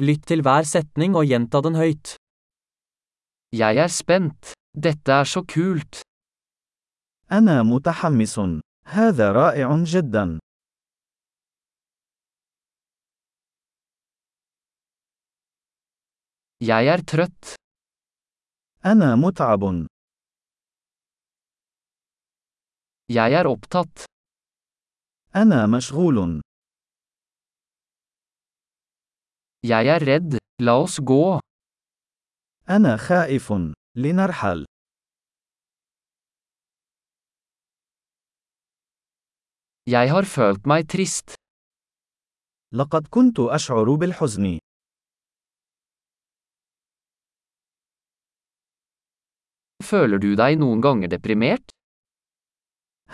Lytt til hver setning og gjenta den høyt. Jeg er spent. Dette er så kult. أنا متحمس. هذا رائع جدا. Jeg er trøtt. أنا متعب. Jeg er opptatt. أنا مشغول. Jeg er redd. La oss gå. أنا خائف. لنرحل. Jeg har følt meg trist. لقد كنت أشعر بالحزن. Føler du deg noen ganger deprimert?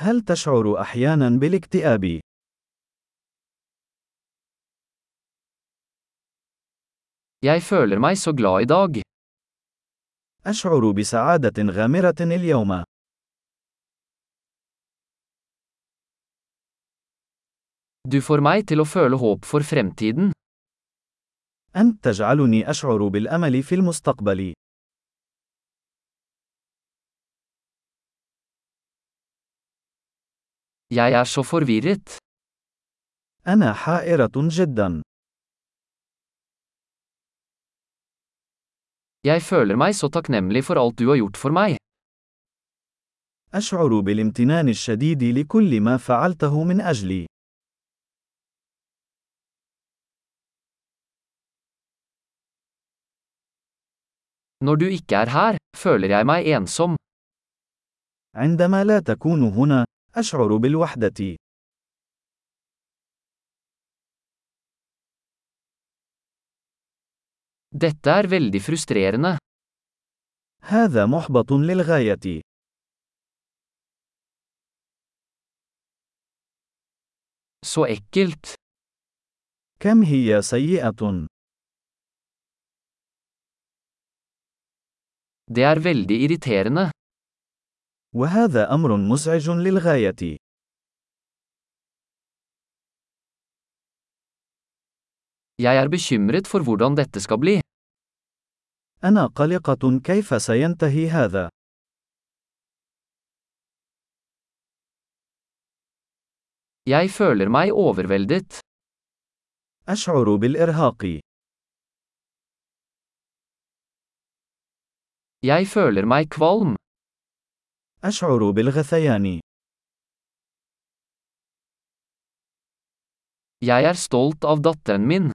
هل تشعر أحيانا بالاكتئاب؟ Jeg føler meg så glad i dag. أشعر بسعادة غامرة اليوم. Du får meg til å føle håp for fremtiden. أنت تجعلني أشعر بالأمل في المستقبل. Jeg er så forvirret. أنا حائرة جدا. Jeg føler meg så takknemlig for alt du har gjort for meg. أشعر بالامتنان الشديد لكل ما فعلته من أجلي. Når du ikke er her, føler jeg meg ensom. عندما لا تكون هنا، أشعر بالوحدة. Dette er veldig frustrerende. هذا محبط للغاية. Så ekkelt. كم هي سيئة. Det er veldig irriterende. وهذا أمر مزعج للغاية. Jeg er bekymret for hvordan dette skal bli. أنا قلقة كيف سينتهي هذا. Jeg føler meg overveldet. أشعر بالإرهاق. Jeg føler meg kvalm. أشعر بالغثيان. Jeg er stolt av datteren min.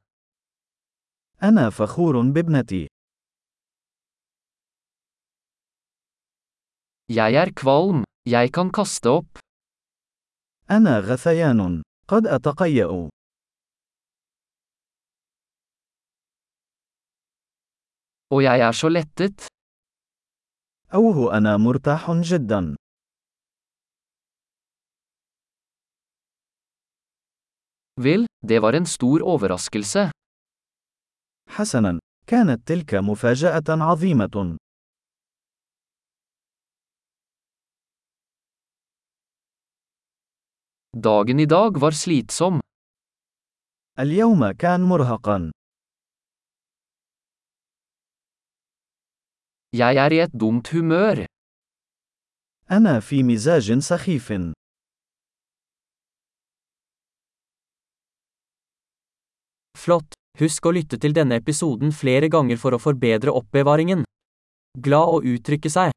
أنا فخور بابنتي. Jeg er kvalm. Jeg kan kaste opp. أنا غثيان. قد أتقيأ. Og jeg er så lettet. أوه أنا مرتاح جدا. Vel, det var en stor overraskelse. حسنا، كانت تلك مفاجأة عظيمة. Dagen i dag var slitsom. اليوم كان مرهقا. Jeg er i et dumt humør. أنا في مزاج سخيف. Flott! Husk å lytte til denne episoden flere ganger for å forbedre oppbevaringen. Glad å uttrykke seg!